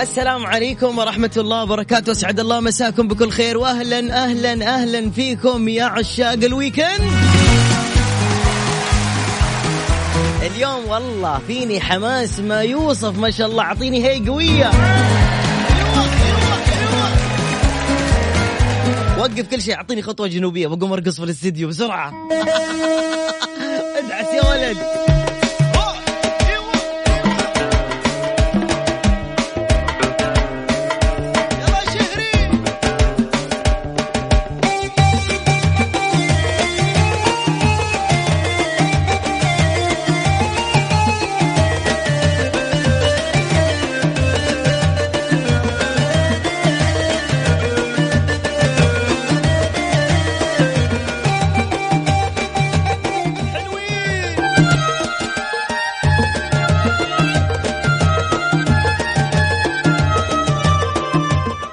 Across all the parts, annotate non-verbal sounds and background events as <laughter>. السلام عليكم ورحمة الله وبركاته أسعد الله مساكم بكل خير وأهلا أهلا أهلا فيكم يا عشاق الويكند اليوم والله فيني حماس ما يوصف ما شاء الله أعطيني هي قوية وقف كل شيء اعطيني خطوه جنوبيه بقوم ارقص في الاستديو بسرعه <laughs> ادعس يا ولد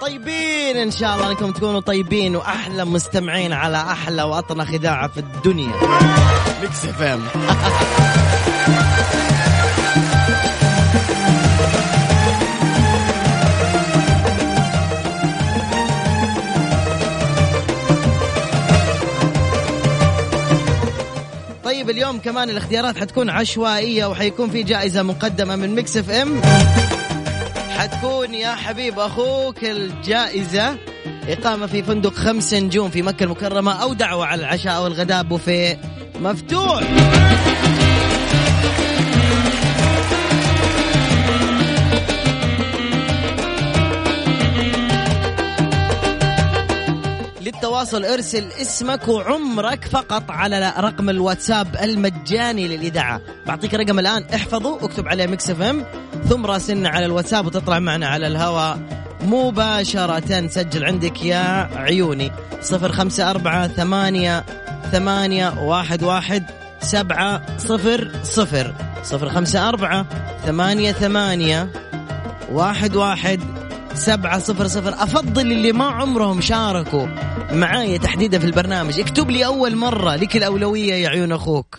طيبين ان شاء الله انكم تكونوا طيبين واحلى مستمعين على احلى واطنى خداعه في الدنيا ميكس اف ام طيب اليوم كمان الاختيارات حتكون عشوائيه وحيكون في جائزه مقدمه من ميكس اف ام حتكون يا حبيب اخوك الجائزه اقامه في فندق خمس نجوم في مكه المكرمه او دعوه على العشاء او الغداء بوفيه مفتوح للتواصل ارسل اسمك وعمرك فقط على رقم الواتساب المجاني للاذاعه بعطيك رقم الان احفظه اكتب عليه ميكس اف ام ثم راسلنا على الواتساب وتطلع معنا على الهواء مباشرة سجل عندك يا عيوني صفر خمسة أربعة ثمانية ثمانية واحد واحد سبعة صفر صفر صفر خمسة أربعة ثمانية ثمانية واحد واحد سبعة صفر صفر أفضل اللي ما عمرهم شاركوا معايا تحديدا في البرنامج اكتب لي أول مرة لك الأولوية يا عيون أخوك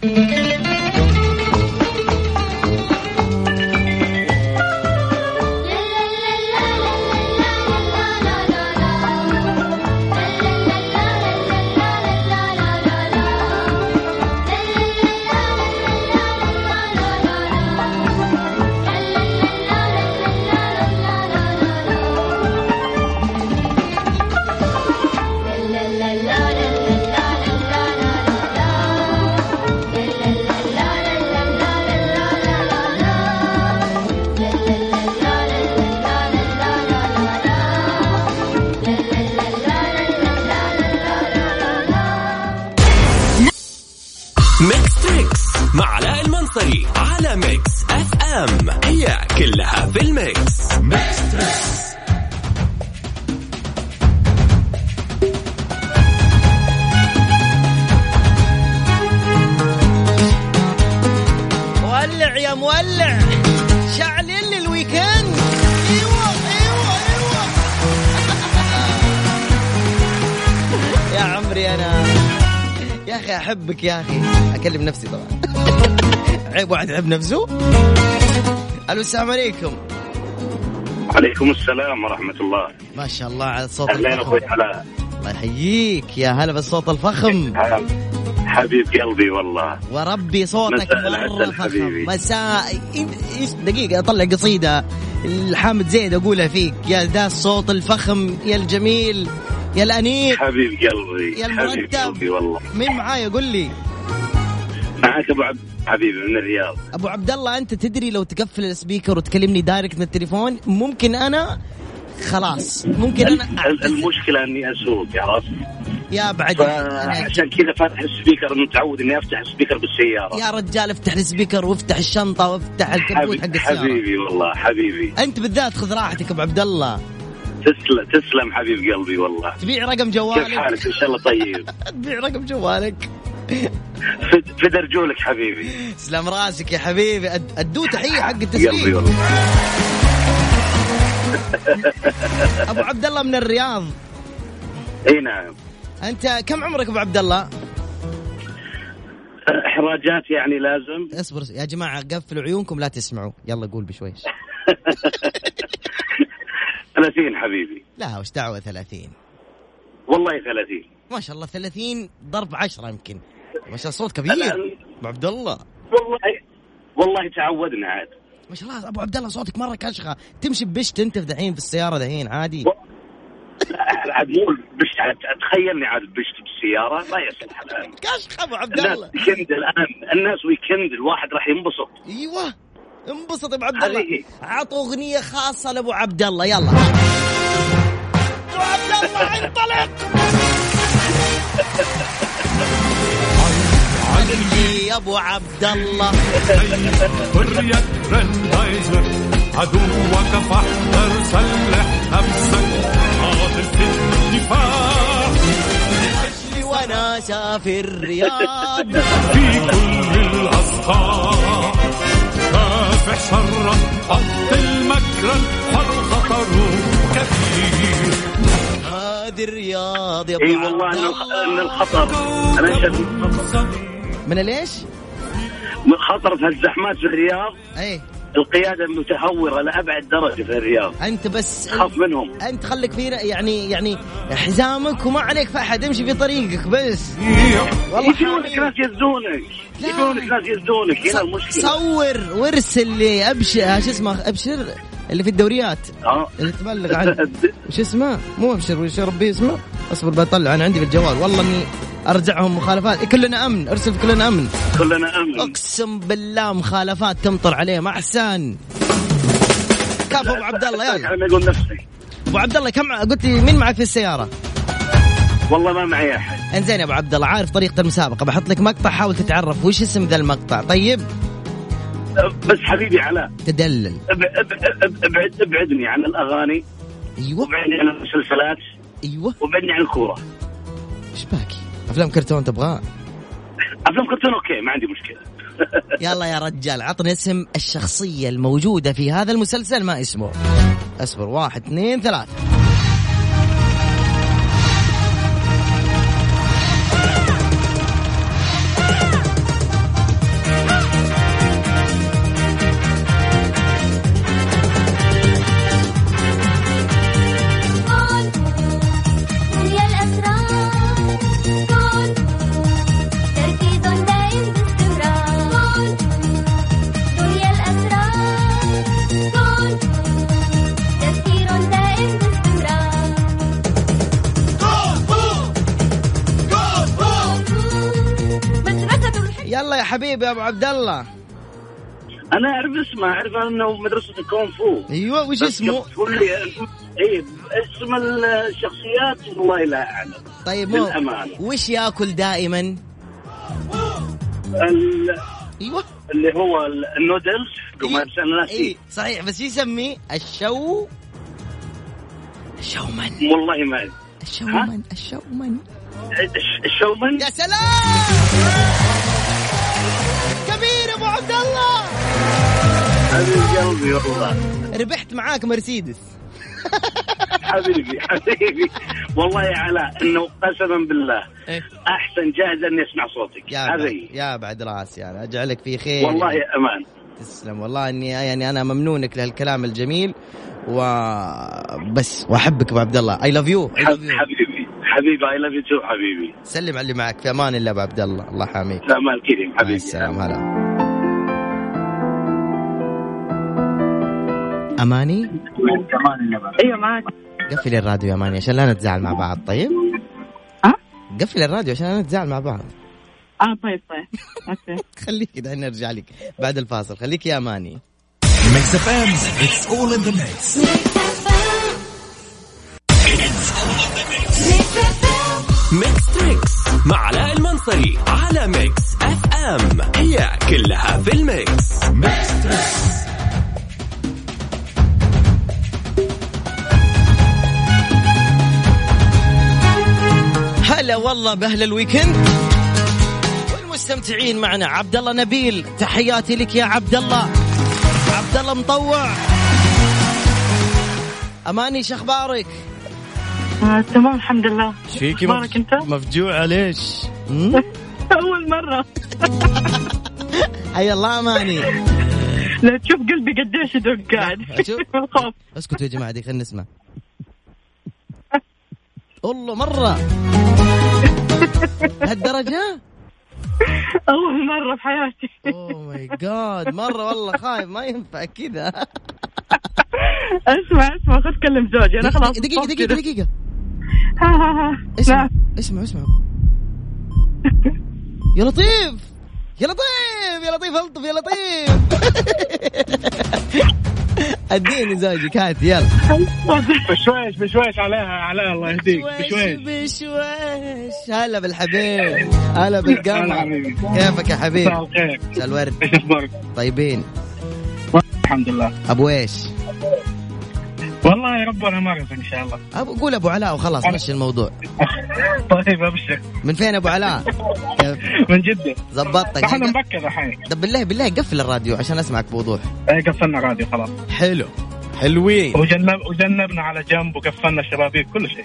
ميكس تريكس مع علاء المنصري على ميكس اف ام هي كلها في الميكس مولع يا مولع شعلل لي الويكند ايوه ايوه ايوه <laughs> يا عمري انا يا اخي احبك يا اخي اكلم نفسي طبعا <laughs> عيب واحد يحب نفسه الو السلام عليكم عليكم السلام ورحمة الله ما شاء الله على الصوت أهلين الفخم أخوي علاء الله يحييك يا هلا بالصوت الفخم هلا. حبيب قلبي والله وربي صوتك مساء العسل مره فخم حبيبي. مساء إيش- إيش- دقيقه اطلع قصيده الحامد زيد اقولها فيك يا ذا الصوت الفخم يا الجميل يا الانيق حبيب قلبي يا حبيب قلبي المرتب والله مين معاي قول لي معك أبو عبد حبيبي من الرياض ابو عبد الله انت تدري لو تقفل السبيكر وتكلمني دايركت من التليفون ممكن انا خلاص ممكن انا ال- أعتذر. المشكلة إني أسوق عرفت يا بعد أنا- فعشان كذا فاتح السبيكر متعود إني أفتح السبيكر بالسيارة يا رجال افتح السبيكر وافتح الشنطه وافتح الكبوت حبيب- حق السياره حبيبي والله حبيبي انت بالذات خذ راحتك ابو عبد الله تسلم تسلم حبيب قلبي والله تبيع رقم كيف جوالك حالك إن شاء الله طيب <laughs> تبيع رقم جوالك فد- فدر رجولك حبيبي سلام راسك يا حبيبي أد- ادو تحيه حق قلبي التسويق والله ابو عبد الله من الرياض اي نعم انت كم عمرك ابو عبد الله احراجات يعني لازم اصبر يا جماعه قفلوا عيونكم لا تسمعوا يلا قول بشويش <laughs> 30 حبيبي لا وش دعوه 30 والله 30 ما شاء الله 30 ضرب 10 يمكن ما شاء الله صوت لا، كبير لا. ابو عبد الله والله والله تعودنا عاد ما شاء الله ابو عبد الله صوتك مره كشخه تمشي ببشت انت دحين في السياره دحين عادي و- لا عاد مو البشت عاد تخيلني عاد بشت بالسياره لا يصلح الان كشخه ابو عبد الناس الله ويكند الان الناس ويكند الواحد راح ينبسط ايوه انبسط يا ابو عبد الله حقيقي. عطوا اغنيه خاصه لابو عبد الله يلا ابو عبد الله انطلق عندي يا ابو عبد الله حرية فرنايزر عدوك فاحذر سلح نفسك حاضر في الدفاع لي وانا سافر الرياض في كل الأصقاع كافح شرا قتل مكرا فالخطر كبير هذه الرياض يا اي ابو والله عبد ان الخ- ان الله الخطر انا أشهد من ليش؟ من خطر في الزحمات في الرياض ايه القياده متهوره لابعد درجه في الرياض انت بس خاف منهم انت خليك في يعني يعني حزامك وما عليك فحد امشي في طريقك بس والله يجونك حامي. ناس يزدونك لا. يجونك ناس يزدونك هنا ص- المشكله صور وارسل لي ابشر آه، شو اسمه ابشر اللي في الدوريات آه. اللي تبلغ عنه وش اسمه؟ مو ابشر وش يا ربي اسمه؟ اصبر بطلع انا عندي في الجوال والله اني ارجعهم مخالفات كلنا امن ارسل في كلنا امن كلنا امن اقسم بالله مخالفات تمطر عليه مع احسان كفو ابو عبد الله يلا انا اقول نفسي ابو عبد الله كم قلت لي مين معك في السياره؟ والله ما معي احد انزين يا ابو عبد الله عارف طريقه المسابقه بحط لك مقطع حاول تتعرف وش اسم ذا المقطع طيب بس حبيبي علاء تدلل أب- أب- أب- ابعد ابعدني عن الاغاني ايوه وابعدني عن المسلسلات ايوه وابعدني عن الكوره ايش باكي افلام كرتون تبغاه افلام كرتون اوكي ما عندي مشكله يلا يا رجال عطني اسم الشخصيه الموجوده في هذا المسلسل ما اسمه اصبر واحد اثنين ثلاثة كون دنيا الأسرار كون تركيز دائم باستمرار كون دنيا الأسرار كون تفكير دائم باستمرار مدرسة الحكمة يلا يا حبيبي يا ابو عبد الله انا اعرف اسمه اعرف انه مدرسه الكونغ فو ايوه وش بس اسمه تقول لي اي اسم الشخصيات والله لا اعلم طيب مو للأمانة. وش ياكل دائما ال- ايوه اللي هو ال- النودلز إيه. وما انا اي ناسي صحيح بس يسميه الشو الشومن والله ما أدري. الشومن الشومن الش- الشومن يا سلام كبير ابو عبد الله حبيب قلبي والله ربحت معاك مرسيدس حبيبي حبيبي والله يا علاء انه قسما بالله إيه. احسن جاهز اني اسمع صوتك يا بعد هذه يا بعد راسي انا اجعلك في خير والله يعني. يا امان تسلم والله اني يعني انا ممنونك لهالكلام الجميل و بس واحبك ابو عبد الله اي لاف يو حب- حبيبي حبيبي اي لاف يو تو حبيبي سلم على اللي معك في امان الله ابو عبد الله الله حاميك سلام الكريم مع حبيبي السلامه هلا اماني ايوه أيوة معك قفلي الراديو يا اماني عشان لا نتزعل مع بعض طيب ها؟ قفلي الراديو عشان لا نتزعل مع بعض آه، اه طيب طيب اوكي خليك دحين نرجع لك بعد الفاصل خليك يا اماني ميكس اف ام اتس اول ان ذا ميكس ميكس تريكس مع علاء المنصري على ميكس اف ام هي كلها في الميكس هلا والله باهل الويكند والمستمتعين معنا عبد الله نبيل تحياتي لك يا عبد الله عبد الله مطوع اماني شخبارك آه تمام الحمد لله فيكي اخبارك انت؟ مفجوعه ليش اول مره حي الله اماني لا تشوف قلبي قديش يدق قاعد أشوف. <laughs> من الخوف اسكتوا يا جماعه دي خلينا نسمع والله مرة هالدرجة؟ أول مرة في حياتي اوه ماي جاد Oh مرة والله خايف ما ينفع كذا اسمع اسمع خذ كلم زوجي أنا خلاص دقيقة خلاص دقيقة كده. دقيقة ها ها ها نعم. اسمع نعم. لا. اسمع اسمع <laughs> يا لطيف يا لطيف يا لطيف الطف يا لطيف <laughs> اديني زوجك هات يلا بشويش بشويش عليها عليها الله يهديك بشويش بشويش هلا بالحبيب هلا بالقمر حبيبي. كيفك يا مساء حبيبي؟ الخير مساء الورد ايش اخبارك؟ طيبين الحمد لله ابو ايش؟ والله ربنا ما رزق ان شاء الله <laughs> أبو قول ابو علاء وخلاص مشي الموضوع طيب ابشر من فين ابو علاء؟ كيف؟ من جده زبطتك احنا مبكر الحين طب بالله بالله قفل الراديو عشان اسمعك بوضوح إيه، قفلنا راديو خلاص حلو حلوين وجنب وجنبنا على جنب وقفلنا الشبابيك كل شيء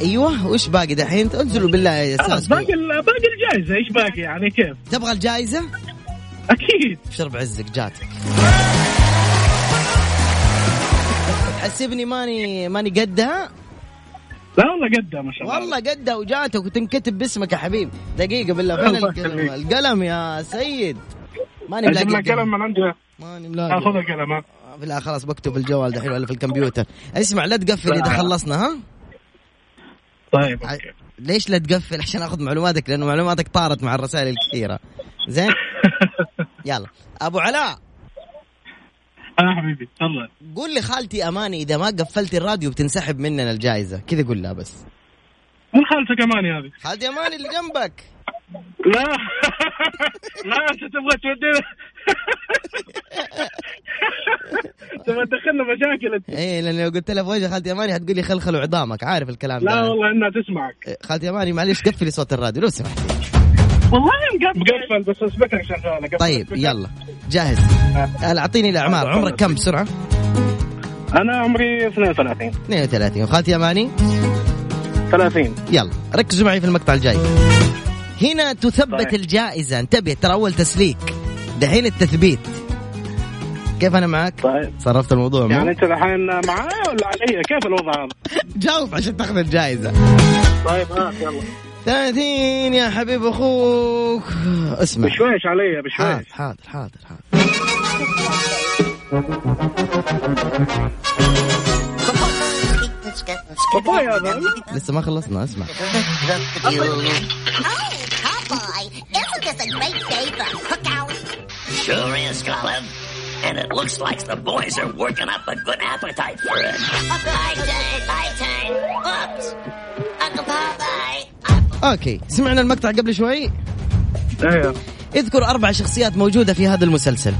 ايوه وش باقي دحين انزلوا بالله يا خلاص ساس باقي ال- باقي الجائزه ايش باقي يعني كيف؟ تبغى الجائزه اكيد شرب عزك جاتك تحسبني ماني ماني قدها لا والله قدها ما شاء الله والله قدها وجاتك وتنكتب باسمك يا حبيب دقيقه بالله فين الله القلم يخليك. القلم يا سيد ماني اجيب ملاقي لك قلم القلم. من عندي ماني ملاقي اخذها قلم ها؟ لا خلاص بكتب الجوال دحين ولا في الكمبيوتر اسمع لا تقفل اذا خلصنا ها طيب ع- أوكي. <laughs> ليش لا تقفل عشان اخذ معلوماتك لانه معلوماتك طارت مع الرسائل الكثيره زين يلا ابو علاء اه حبيبي تفضل قول لي خالتي اماني اذا ما قفلتي الراديو بتنسحب مننا الجائزه كذا قول لها بس مو خالتك اماني هذه <laughs> خالتي اماني اللي <laughs> جنبك لا لا انت تبغى تودينا <laughs> تبغى تدخلنا مشاكل آه، انت ايه لان لو قلت لها في وجه خالتي اماني حتقول لي خلخل وعظامك عارف الكلام لا ده والله انها تسمعك إيه، خالتي اماني معلش قفلي صوت الراديو لو سمحتي والله مقفل مقفل بس سبيكر شغاله قفل طيب السبيكر. يلا جاهز آه. هلا اعطيني الاعمار عمرك كم بسرعه انا عمري 32 32 وخالتي اماني 30 يلا ركزوا معي في المقطع الجاي هنا تثبت طيب. الجائزة انتبه ترى أول تسليك دحين التثبيت كيف أنا معك؟ طيب صرفت الموضوع يعني مو؟ انت الحين معايا ولا علي كيف الوضع هذا؟ جاوب عشان تاخذ الجائزة طيب ها يلا 30 يا حبيب أخوك اسمع بشويش علي حاضر بشويش حاضر حاضر حاضر باباي هذا لسه ما خلصنا اسمع Oh, Popeye! Isn't this a great day for cookouts? Sure is, Colin. And it looks like the boys are working up a good appetite for it. My turn, my turn. Oops. Uncle Popeye. I'm أوكي سمعنا المقطع قبل شوي ايوه اذكر أربع شخصيات موجودة في هذا المسلسل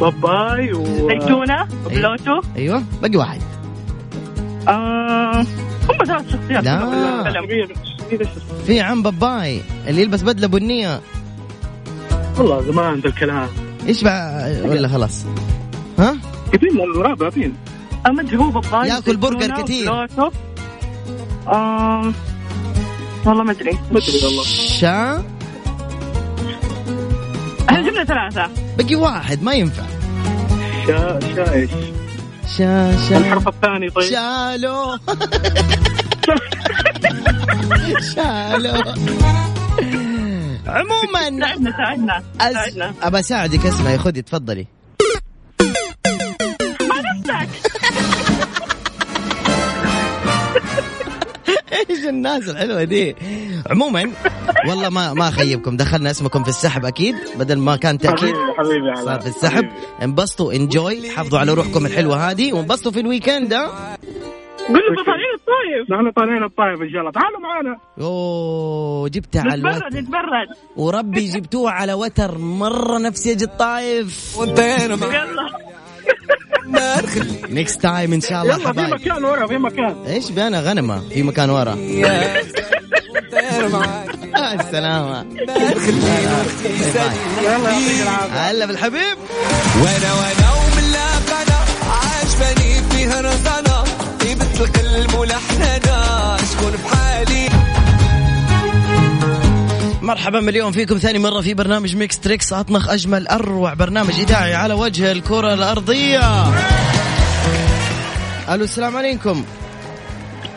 باباي و زيتونة بلوتو أيوه باقي واحد آه، هم ثلاث شخصيات لا. في الفيلم. في عم باباي اللي يلبس بدلة بنية والله زمان ذا الكلام ايش بقى ولا خلاص ها قديم الرابع قديم أمد هو باباي ياكل زيتونة، برجر كتير. بلوتو آه، والله ما ادري ما ادري والله شا احنا جبنا ثلاثة بقي واحد ما ينفع شا شا ايش؟ شا شا الحرف الثاني طيب شالو <laughs> شالو عموما ساعدنا ساعدنا أس... ساعدنا ابى اساعدك اسمعي خذي تفضلي <laughs> ايش الناس الحلوه دي عموما والله ما ما اخيبكم دخلنا اسمكم في السحب اكيد بدل ما كان تاكيد حبيبي حبيبي علاء. صار في السحب انبسطوا انجوي حافظوا على روحكم الحلوه هذه وانبسطوا في الويكند ها قول له طالعين الطايف نحن طالعين الطائف ان شاء الله تعالوا معنا اوه جبتها على نتبرد الوتر نتبرد وربي جبتوه على وتر مره نفسي اجي <laughs> الطايف يلا نيكست تايم ان شاء <laughs> الله يلا في حبايب مكان ورا في مكان ايش بي انا غنمه في مكان ورا السلامة يلا يعطيك العافيه هلا بالحبيب وانا وانا وملاقنا عجبني فيها رزانا طيبة القلب ولحننا شكون بحالي مرحبا مليون فيكم ثاني مرة في برنامج ميكس تريكس أطنخ أجمل أروع برنامج إذاعي على وجه الكرة الأرضية ألو السلام عليكم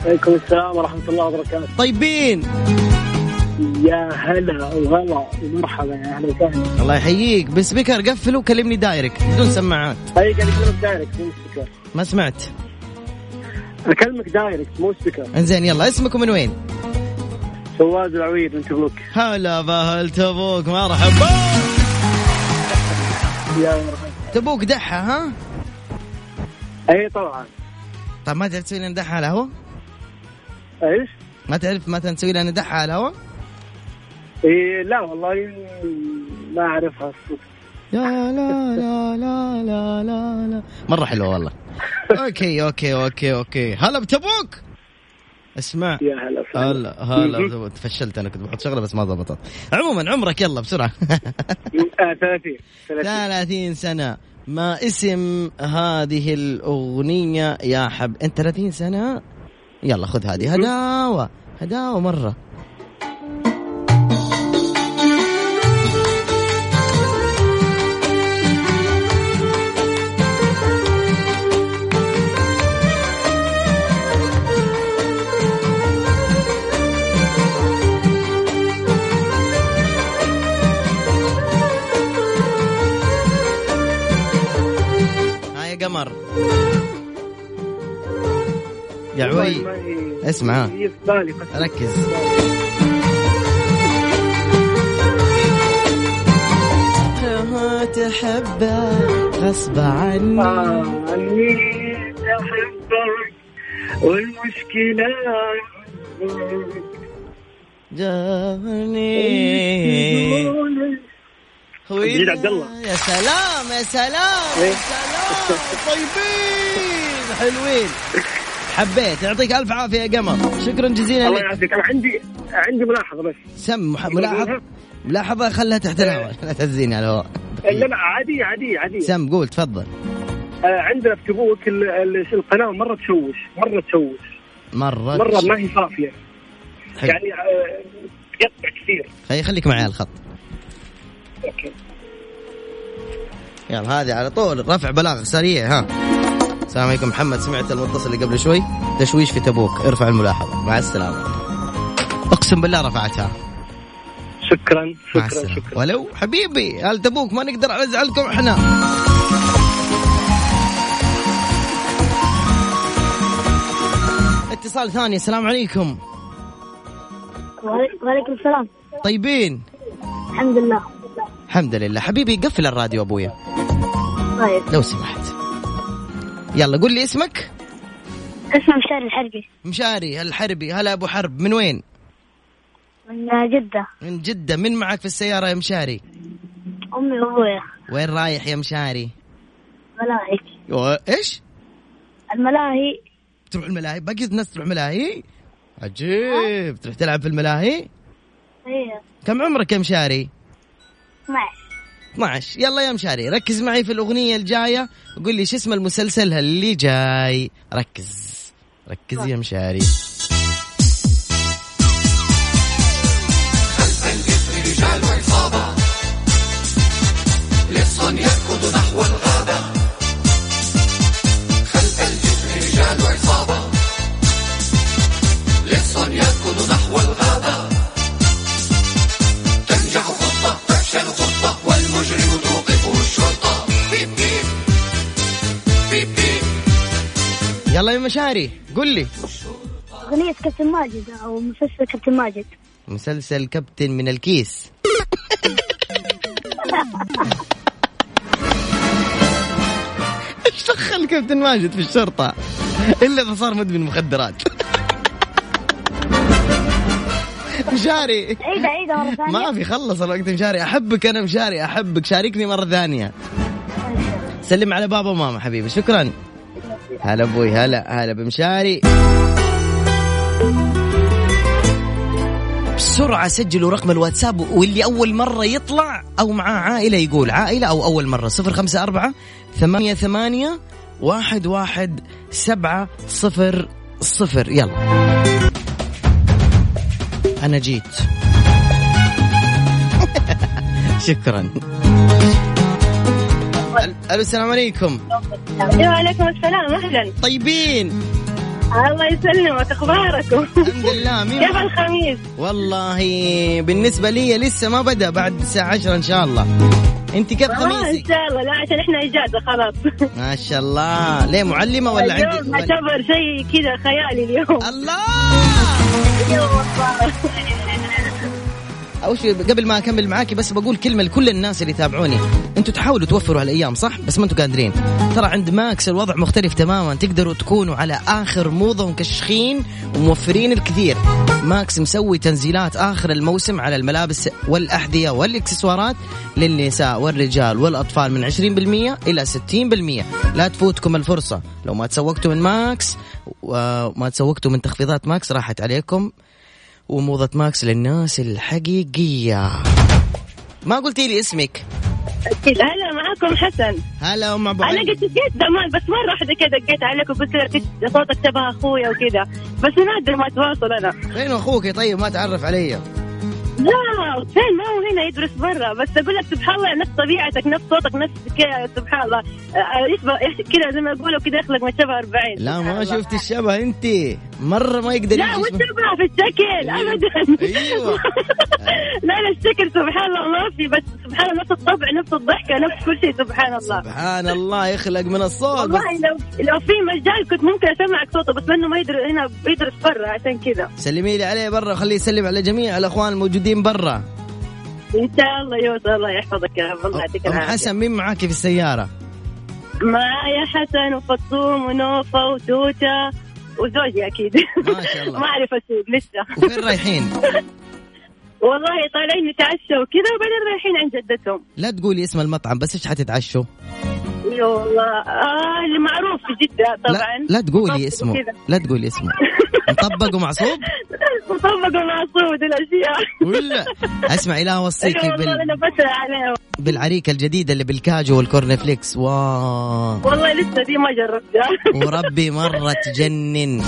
عليكم السلام ورحمة الله وبركاته طيبين يا هلا وهلا ومرحبا يا اهلا وسهلا الله يحييك بالسبيكر قفله وكلمني دايركت بدون سماعات اي طيب، قاعد اكلمك دايركت مو سبيكر ما سمعت اكلمك دايركت مو سبيكر انزين يلا اسمك ومن وين؟ فواز العويد من تبوك هلا بهل تبوك مرحبا يا مرحبا تبوك دحى ها؟ إيه اي طبعا طب طيب، ما تعرف تسوي لنا دحى على الهواء؟ ايش؟ ما تعرف مثلا تسوي لنا دحى على الهواء؟ إيه لا والله ما اعرفها الصدق لا لا لا لا لا لا لا مرة حلوة والله اوكي اوكي اوكي اوكي هلا بتبوك اسمع يا هلا وسهلا. هلا هلا بتبوك. تفشلت انا كنت بحط شغله بس ما ضبطت عموما عمرك <laughs> يلا بسرعه آه 30 30 30 سنه ما اسم هذه الاغنيه يا حب انت 30 سنه يلا خذ هذه هداوه هداوه مره ها يا قمر يا عوي اسمع هي في بالي قسماً. ركز ما تحب غصب عني آه، إني أحبك إيه. والمشكلة عندك. جاني جديد عبد الله. يا سلام يا سلام يا إيه. سلام طيبين حلوين حبيت يعطيك الف عافيه يا قمر شكرا جزيلا الله لك يعافيك انا عندي عندي ملاحظه بس سم مح- ملاحظه ملاحظه خلها تحت الهواء لا تهزيني على الهواء إيه. لا لا عاديه عاديه عاديه سم قول تفضل آه، عندنا في تبوك ال- ال- القناه مره تشوش مره تشوش مره مره ما هي صافيه حلو. يعني آه، تقطع كثير خلي خليك معي على الخط اوكي يلا هذه على طول رفع بلاغ سريع ها السلام عليكم محمد سمعت المتصل اللي قبل شوي تشويش في تبوك ارفع الملاحظة مع السلامة اقسم بالله رفعتها شكرا مع شكرا السلامة شكرا ولو حبيبي هل تبوك ما نقدر نزعلكم احنا اتصال ثاني السلام عليكم وعليكم السلام طيبين الحمد لله الحمد لله حبيبي قفل الراديو ابويا طيب لو سمحت يلا قول لي اسمك اسمه مشاري الحربي مشاري الحربي هلا ابو حرب من وين من جدة من جدة من معك في السيارة يا مشاري أمي وأبويا وين رايح يا مشاري ملاهي يو- ايش الملاهي تروح الملاهي باقي الناس تروح ملاهي عجيب تروح تلعب في الملاهي هي كم عمرك يا مشاري 12 12 يلا يا مشاري ركز معي في الأغنية الجاية وقول لي شو اسم المسلسل اللي جاي ركز ركز يا مشاري يلا يا مشاري قول لي أغنية كابتن ماجد أو مسلسل كابتن ماجد مسلسل كابتن من الكيس ايش دخل كابتن ماجد في الشرطة؟ الا اذا صار مدمن مخدرات <laughs> مشاري عيدة عيدة مرة ثانية ما في خلص الوقت مشاري احبك انا مشاري احبك شاركني مرة ثانية سلم على بابا وماما حبيبي شكرا هلا ابوي هلا هلا بمشاري بسرعة سجلوا رقم الواتساب واللي أول مرة يطلع أو معاه عائلة يقول عائلة أو أول مرة صفر خمسة أربعة ثمانية ثمانية واحد واحد سبعة صفر صفر يلا أنا جيت شكرا ألو السلام عليكم وعليكم السلام اهلا طيبين الله يسلمك اخباركم الحمد لله مين كيف الخميس؟ والله بالنسبه لي لسه ما بدا بعد الساعه 10 ان شاء الله انت كيف آه، خميسك ان شاء الله لا عشان احنا اجازه خلاص ما شاء الله ليه معلمه ولا عندي اليوم اعتبر شيء كذا خيالي اليوم الله والله اول شيء قبل ما اكمل معاكي بس بقول كلمه لكل الناس اللي يتابعوني انتوا تحاولوا توفروا هالايام صح بس ما انتوا قادرين ترى عند ماكس الوضع مختلف تماما تقدروا تكونوا على اخر موضه ومكشخين وموفرين الكثير ماكس مسوي تنزيلات اخر الموسم على الملابس والاحذيه والاكسسوارات للنساء والرجال والاطفال من 20% الى 60% لا تفوتكم الفرصه لو ما تسوقتوا من ماكس وما تسوقتوا من تخفيضات ماكس راحت عليكم وموضة ماكس للناس الحقيقية ما قلتي لي اسمك اكيد هلا معاكم حسن هلا ام ابو انا علي قد دقيت زمان بس مره واحده كذا دقيت عليك وقلت لك إنت صوتك تبع اخويا وكذا بس نادر ما اتواصل انا فين اخوك يا طيب ما تعرف علي لا فين ما هو هنا يدرس برا بس اقول لك سبحان الله نفس طبيعتك نفس صوتك نفس كذا سبحان الله آه، يشبه يح- كذا زي ما يقولوا كذا يخلق ما شبه 40 لا ما شفت الشبه انت مرة ما يقدر لا يجي اسمه. والشبه في الشكل إيوه. ابدا ايوه <laughs> لا لا الشكل سبحان الله ما في بس سبحان الله نفس الطبع نفس الضحكه نفس كل شيء سبحان الله سبحان الله يخلق من الصوت بس والله لو لو في مجال كنت ممكن اسمعك صوته بس لانه ما يدرس هنا بيدرس برا عشان كذا سلمي لي عليه برا وخليه يسلم على جميع الاخوان الموجودين برا ان شاء الله يوسف الله يحفظك يا رب الله يعطيك ام العافيه حسن مين معاكي في السيارة معايا حسن وفطوم ونوفا وتوتة وزوجي اكيد ما شاء الله <laughs> ما اعرف اسوق لسه وفين رايحين والله طالعين نتعشى وكذا وبعدين رايحين عند جدتهم لا تقولي اسم المطعم بس ايش حتتعشوا اي والله آه اللي معروف في جده طبعا لا, لا تقولي اسمه وكذا. لا تقولي اسمه مطبق <laughs> ومعصوب وطبقوا معصوب الاشياء ولا <laughs> اسمعي لا اوصيكي اي والله بال... انا بسال عليهم بالعريكه الجديده اللي بالكاجو والكورن فليكس واو والله لسه دي ما جربتها وربي مره تجنن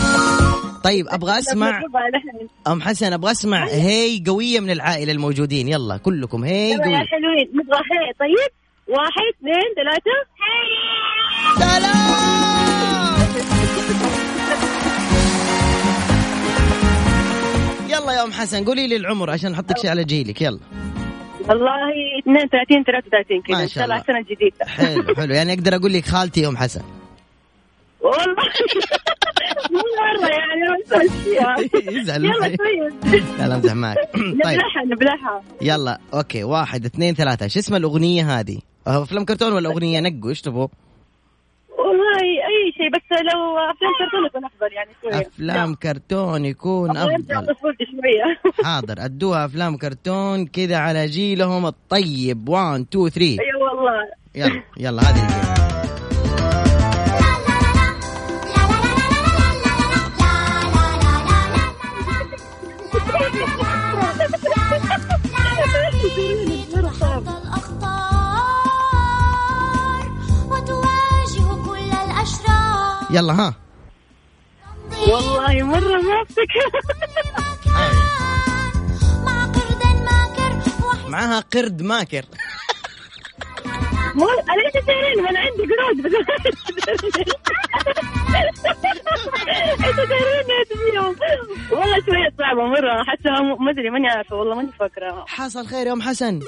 طيب <laughs> ابغى اسمع نجربها نحن. ام حسن ابغى اسمع هي قويه من العائله الموجودين يلا كلكم هي يلا يا قويه حلوين نبغى حي طيب واحد اثنين ثلاثة يلا يا ام حسن قولي لي العمر عشان احطك شيء على جيلك يلا والله 32 33 كذا ما ان شاء شاء الله الله. السنة الجديدة حلو حلو يعني اقدر اقول لك خالتي يا ام حسن <laughs> والله <laughs> مو مرة يعني بس أشياء. <laughs> يزعل يلا معي. <laughs> كويس لا لا امزح <laughs> معك طيب نبلعها نبلعها يلا اوكي واحد اثنين ثلاثة شو اسم الأغنية هذه؟ أه، أفلام كرتون ولا أغنية نقوا ايش تبغوا؟ والله أي شيء بس لو أفلام كرتون يكون أفضل يعني شوية أفلام كرتون يكون أبغى أرجع <laughs> أفضل طفولتي شوية <laughs> حاضر أدوها أفلام كرتون كذا على جيلهم الطيب 1 2 3 أي أيوة، والله <laughs> يلا يلا هذه الأخطار وتواجه كل الأشرار يلا ها والله مرة ما أفتكر <laughs> مع قرد ماكر معاها قرد ماكر مو انا لسه تعرفين ما انا عندي قرود بس انتوا تعرفين ايش فيهم والله شويه صعبه مره حتى مو- ما ادري ماني عارفه والله ماني فاكره حصل خير يا أم حسن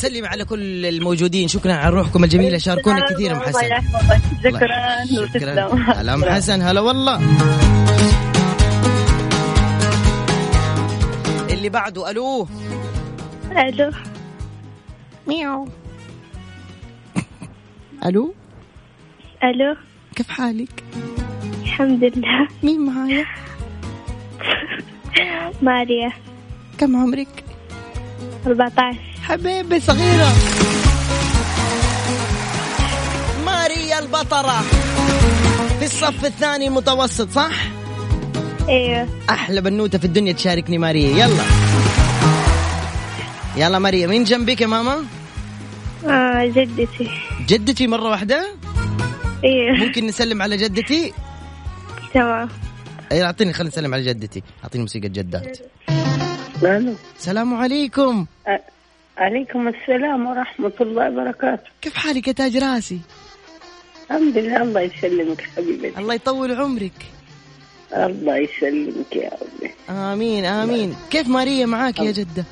سلم على كل الموجودين شكرا على روحكم الجميلة شاركونا كثير يا أم الله حسن يحفظك شكرا شكرا وتسلم هلا أم حسن هلا والله اللي بعده الو الو مياو الو الو كيف حالك؟ الحمد لله مين معايا؟ ماريا كم عمرك؟ 14 حبيبي صغيرة ماريا البطرة في الصف الثاني المتوسط صح؟ ايوه أحلى بنوتة في الدنيا تشاركني ماريا يلا يلا ماريا مين جنبك يا ماما؟ آه جدتي جدتي مرة واحدة؟ ايوه ممكن نسلم على جدتي؟ تمام أي، أعطيني خلينا نسلم على جدتي أعطيني موسيقى جدات السلام عليكم عليكم السلام ورحمة الله وبركاته كيف حالك يا تاج راسي؟ الحمد لله الله يسلمك حبيبتي الله يطول عمرك الله يسلمك يا ربي امين امين كيف ماريا معاك يا جده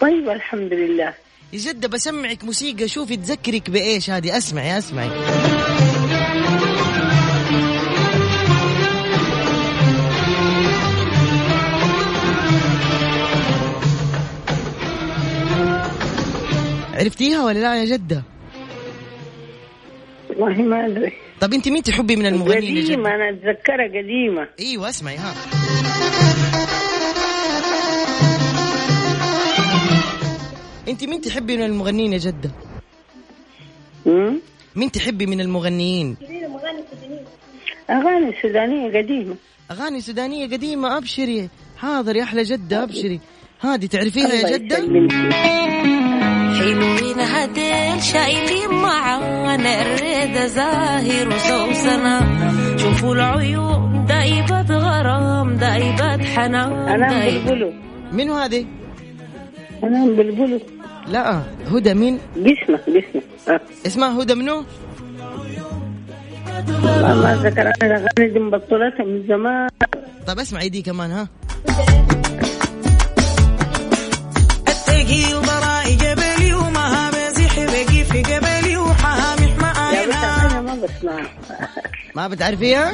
طيب الحمد لله يا جده بسمعك موسيقى شوفي تذكرك بايش هذه اسمعي اسمعي عرفتيها ولا لا يا جده والله ما ادري طب انت مين تحبي من المغنيين يا جده قديمة انا اتذكرها قديمة ايوه اسمعي ها انت مين تحبي من المغنيين يا جده؟ مين تحبي من المغنيين؟ اغاني سودانية قديمة اغاني سودانيه قديمه ابشري حاضر يا احلى جده ابشري هذه تعرفيها الله يا جده؟ حلوين هديل شايلين معون الرضا زاهر وسوسنة شوفوا العيون دايبة غرام دايبة حنان أنا دايبة- بلبلو منو هذه؟ أنا بلبلو لا هدى مين؟ قسمة قسمة آه. اسمها هدى منو؟ والله ما اتذكر انا الاغاني دي مبطلتها من زمان طب اسمعي دي طيب، كمان ها اتقي وبرائي جبلي وما بزح بقي في جبلي وحامح يا بس نعم. معايا انا ما بسمعها ما بتعرفيها؟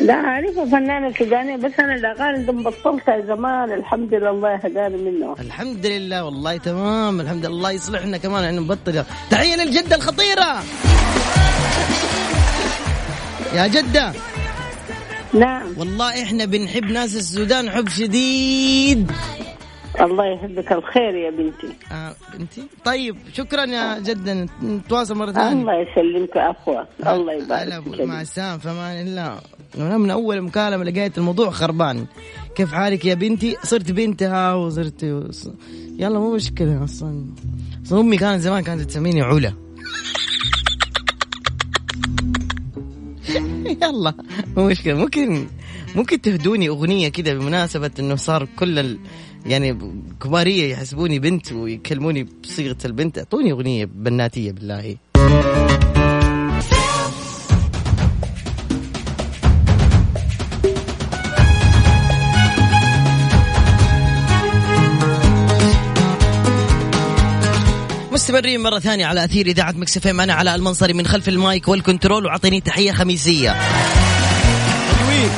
لا اعرفها فنانة سودانية بس انا الاغاني دي مبطلتها زمان الحمد لله الله هداني منه الحمد لله والله تمام الحمد لله الله يصلحنا كمان انه نبطل تحيه للجده الخطيره يا جده نعم والله احنا بنحب ناس السودان حب شديد الله يحبك الخير يا بنتي آه بنتي طيب شكرا يا جدا نتواصل مره ثانيه الله يسلمك عفوا الله هلا يبارك أبو- فيك مع السلامة في أمان الله أنا من أول مكالمة لقيت الموضوع خربان كيف حالك يا بنتي صرت بنتها وصرت وص... يلا مو مشكلة أصلا أصلا أمي كانت زمان كانت تسميني علا <laughs> يلا مو مشكلة ممكن ممكن تهدوني أغنية كده بمناسبة أنه صار كل ال... يعني كبارية يحسبوني بنت ويكلموني بصيغة البنت أعطوني أغنية بناتية بالله مستمرين مرة ثانية على أثير إذاعة مكسف ام أنا على المنصري من خلف المايك والكنترول وأعطيني تحية خميسية حلوين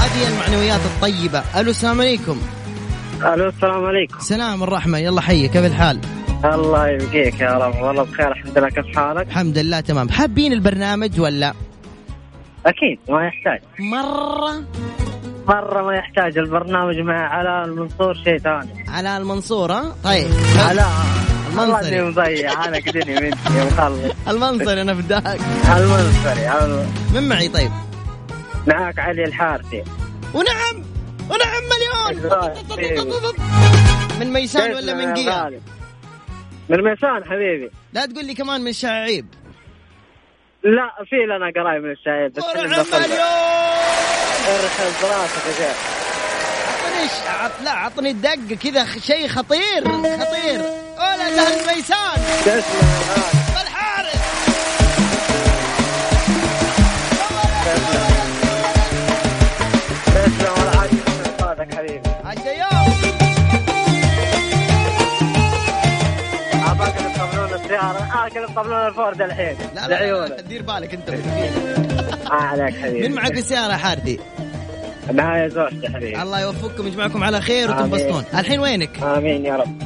هذه المعنويات الطيبة ألو السلام عليكم الو السلام عليكم سلام الرحمة يلا حي كيف الحال الله يبقيك يا رب والله بخير الحمد لله كيف حالك؟ الحمد لله تمام حابين البرنامج ولا اكيد ما يحتاج مرة مره ما يحتاج البرنامج مع علاء المنصور شيء ثاني على المنصور ها طيب علاء والله المنصري. اني مضيع انا كدني مني مخلص المنصري أنا بداك المنصري الم- من معي طيب معك علي الحارثي ونعم ونعم مليون <laughs> من ميسان ولا من قيا من ميسان حبيبي لا تقول لي كمان من شعيب لا في لنا قرايب من الشايب بس ونعم مليون ارحب براسك يا شيخ عطني ش- عط- لا عطني الدقة كذا خ- شيء خطير خطير أولا سهل ميسان والحارس تسلم والعافيه من صوتك حبيبي عالشيوخ. اباك الطبلون السياره اكل الطبلون الفورد الحين لا لا لا، لعيونك لا دير بالك انت ما عليك حبيبي من معك بالسيارة يا حارثي معايا زوجتي حبيبي الله يوفقكم يجمعكم على خير وتنبسطون آمين. الحين وينك امين يا رب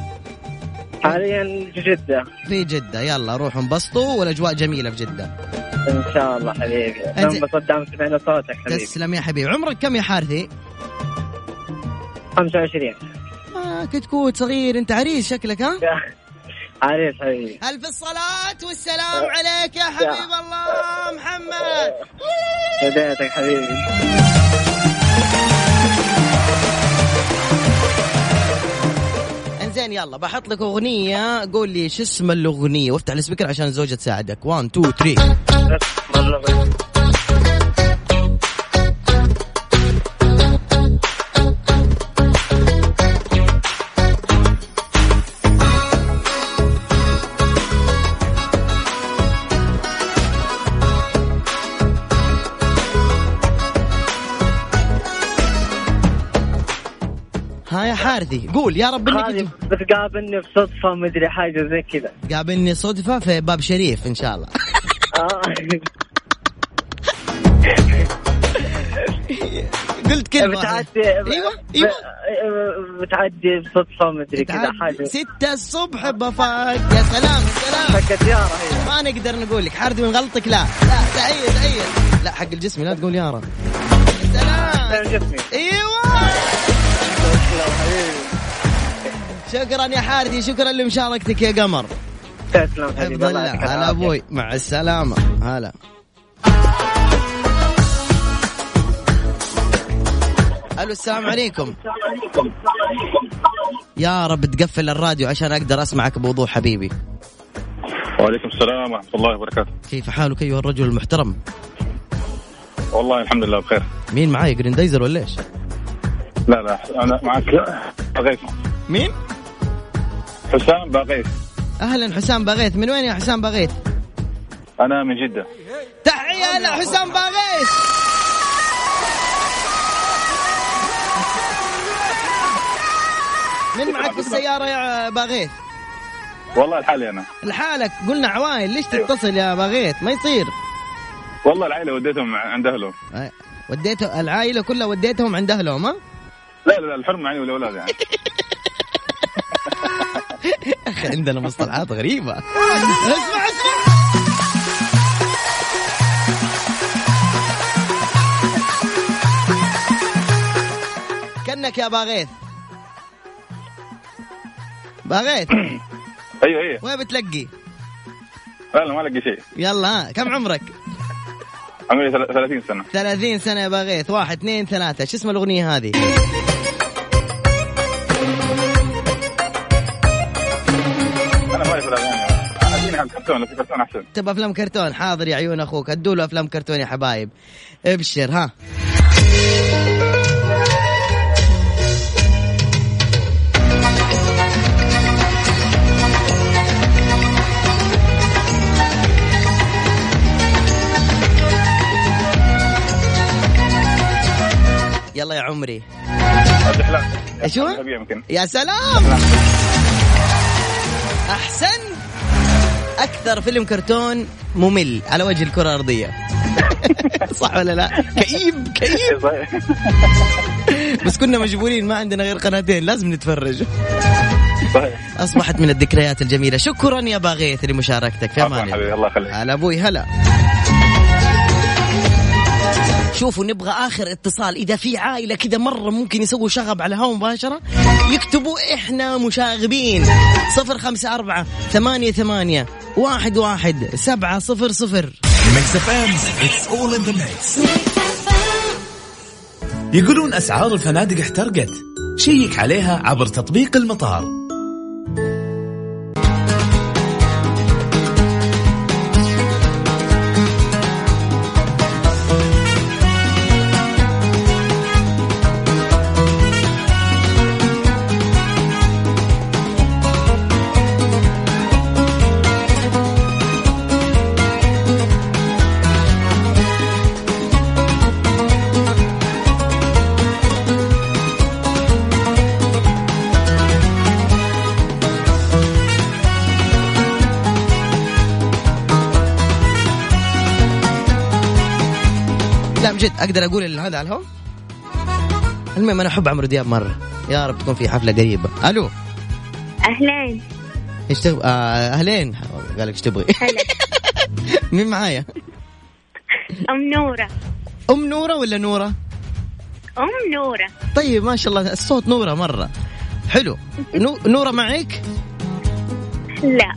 حاليا في جده في جدة يلا روحوا انبسطوا والأجواء جميلة في جدة ان شاء الله حبيبي أنت- انبسط دام سمعنا صوتك حبيبي تسلم يا حبيبي عمرك كم يا حارثي 25 آه كتكوت صغير انت عريس شكلك ها عريس حبيبي ألف الصلاة والسلام عليك يا حبيب الله محمد بدايتك حبيبي انزين يلا بحط لك اغنيه قول لي شو اسم الاغنيه وافتح السبيكر عشان الزوجه تساعدك 1 2 3 ها يا حارثي قول يا رب انك خالد بس قابلني بصدفة مدري حاجة زي كذا قابلني صدفه في باب شريف ان شاء الله آه. قلت كلمه بتعدي ايوه ايوه ب- بتعدي بصدفة مدري كذا حاجة ستة الصبح بفاك يا سلام يا سلام ما نقدر نقول لك حارثي من غلطك لا لا تأيد تأيد لا حق الجسم لا تقول يارا جسمي ايوه شكرا يا حارثي شكرا لمشاركتك يا قمر تسلم حفظ الله آه، هلا ابوي مع السلامة هلا الو السلام عليكم يا رب تقفل الراديو عشان اقدر اسمعك بوضوح حبيبي وعليكم السلام ورحمة الله وبركاته كيف حالك ايها الرجل المحترم والله الحمد لله بخير مين معاي جريندايزر ولا ايش لا لا أنا معك بغيث مين حسام بغيث اهلا حسام باغيث من وين يا حسام باغيث أنا من جدة تحية لحسام باغيث من معك في السيارة يا باغيث والله لحالي أنا لحالك قلنا عوائل ليش تتصل يا باغيث ما يصير والله العائلة وديتهم عند أهلهم أي- وديته العائلة كلها وديتهم عند أهلهم ها لا لا لا الحرمة يعني والأولاد يعني أخي عندنا مصطلحات غريبة اسمع اسمع كنك يا باغيث باغيث أيوه أيوه وين بتلقي لا لا ما لقي شيء يلا ها كم عمرك عمري ثل- 30 سنة 30 سنة يا باغيث واحد اثنين ثلاثة شو اسم الأغنية هذه أنا ما أعرف الأغاني أديني عن كرتون لو في كرتون أحسن تبى أفلام كرتون حاضر يا عيون أخوك أدوا له أفلام كرتون يا حبايب ابشر ها يلا يا عمري ايش هو؟ يمكن يا سلام احسن اكثر فيلم كرتون ممل على وجه الكره الارضيه <laughs> صح ولا لا كئيب كئيب <laughs> بس كنا مجبورين ما عندنا غير قناتين لازم نتفرج اصبحت من الذكريات الجميله شكرا يا باغيث لمشاركتك في امان حبيبي الله يخليك هلا ابوي هلا شوفوا نبغى اخر اتصال اذا في عائله كذا مره ممكن يسووا شغب على الهواء مباشره يكتبوا احنا مشاغبين صفر خمسة أربعة ثمانية ثمانية واحد واحد سبعة صفر صفر ميكس اف ام اتس اول ان ذا ميكس يقولون اسعار الفنادق احترقت شيك عليها عبر تطبيق المطار لا من جد اقدر اقول ال- هذا على الهواء المهم انا احب عمرو دياب مره يا رب تكون في حفله قريبه الو أهلين ايش تبغى آه، اهلين قال لك ايش تبغي هلا <laughs> مين معايا أم نورة ام نوره ولا نوره أم نورة طيب ما شاء الله الصوت نوره مره حلو نو- نوره معك لا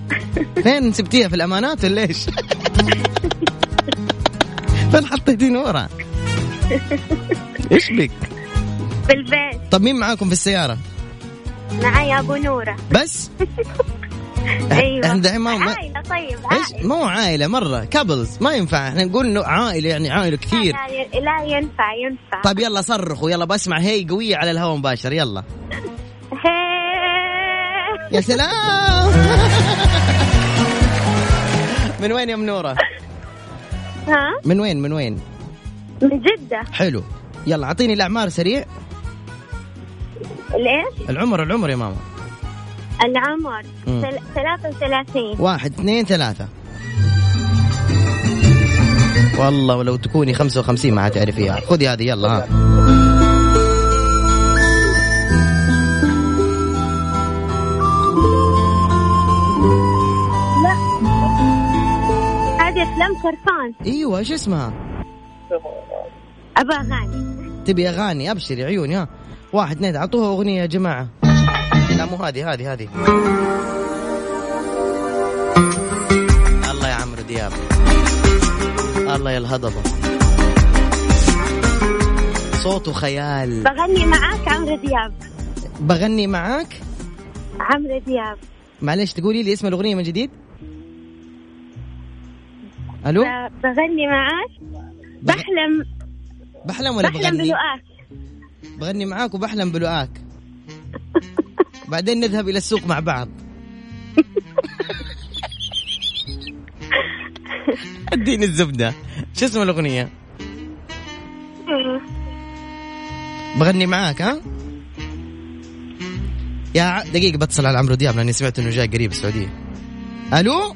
فين سبتيها في الامانات ولا ايش <laughs> فين حطيتي نوره ايش بك في البيت طب مين معاكم في السياره معي أبو نورة بس أيوة إحنا دحين أه، ما- ما- عائلة طيب ايش عائلة مو عائله مره كابلز ما ينفع احنا نقول انه عائله يعني عائله كثير لا, ي- لا ينفع ينفع طيب يلا صرخوا يلا بسمع هي قويه على الهواء مباشر يلا يا سلام <laughs> من وين يا منوره ها من وين من وين من جدة حلو يلا اعطيني الاعمار سريع الايش؟ العمر العمر يا ماما العمر مم. ثل- 33 واحد اثنين ثلاثة والله ولو تكوني 55 ما حتعرفيها خذي هذه يلا ها لا هذه افلام كرفان ايوه ايش اسمها؟ ابى اغاني تبي اغاني ابشري عيوني ها واحد اثنين اعطوها اغنية يا جماعة لا مو هذه هذه هذه الله يا عمرو دياب الله يا الهضبة صوته خيال بغني معاك عمرو دياب بغني معاك عمرو دياب معلش تقولي لي اسم الاغنيه من جديد الو ب- بغني معاك بحلم بحلم ولا بحلم بغني بلقاك بغني معاك وبحلم بلقاك بعدين نذهب الى السوق مع بعض اديني الزبده شو اسم الاغنيه بغني معاك ها يا ع... دقيقه بتصل على عمرو دياب لاني سمعت انه جاي قريب السعوديه الو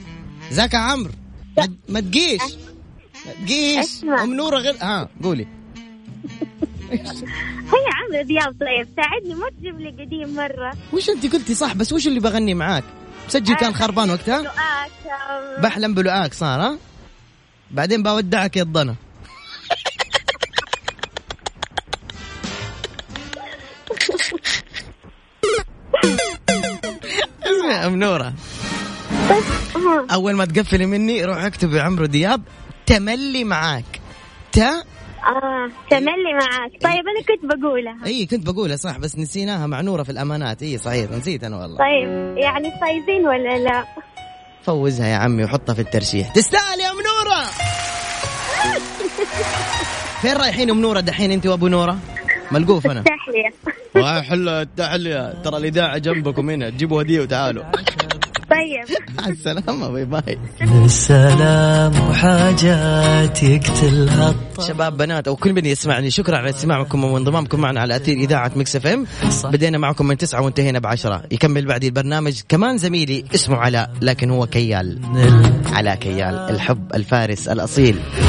زاك يا عمرو ما- ما تجيش ما تجيش ام نوره غير ها قولي هي عمرو دياب طيب ساعدني ما تجيب لي قديم مرة وش انت قلتي صح بس وش اللي بغني معاك مسجل كان خربان وقتها لقاك آم، بحلم بلقاك صار ها بعدين بودعك يا الضنا اسمع يا ام نوره اول ما تقفلي مني روح اكتبي عمرو دياب تملي معاك تا اه تملي معاك طيب انا كنت بقولها اي كنت بقولها صح بس نسيناها مع نوره في الامانات اي صحيح نسيت انا والله طيب يعني فايزين ولا لا فوزها يا عمي وحطها في الترشيح تستاهل يا ام نوره فين رايحين ام نوره دحين انت وابو نوره ملقوف <laughs> انا تحلية حلو التحليه ترى الاذاعه جنبكم هنا تجيبوا هديه وتعالوا طيب مع السلامه باي باي السلام وحاجات يقتلها شباب بنات او كل من يسمعني شكرا على استماعكم وانضمامكم معنا على اثير اذاعه مكس اف ام بدينا معكم من تسعه وانتهينا بعشره يكمل بعدي البرنامج كمان زميلي اسمه علاء لكن هو كيال علاء كيال الحب الفارس الاصيل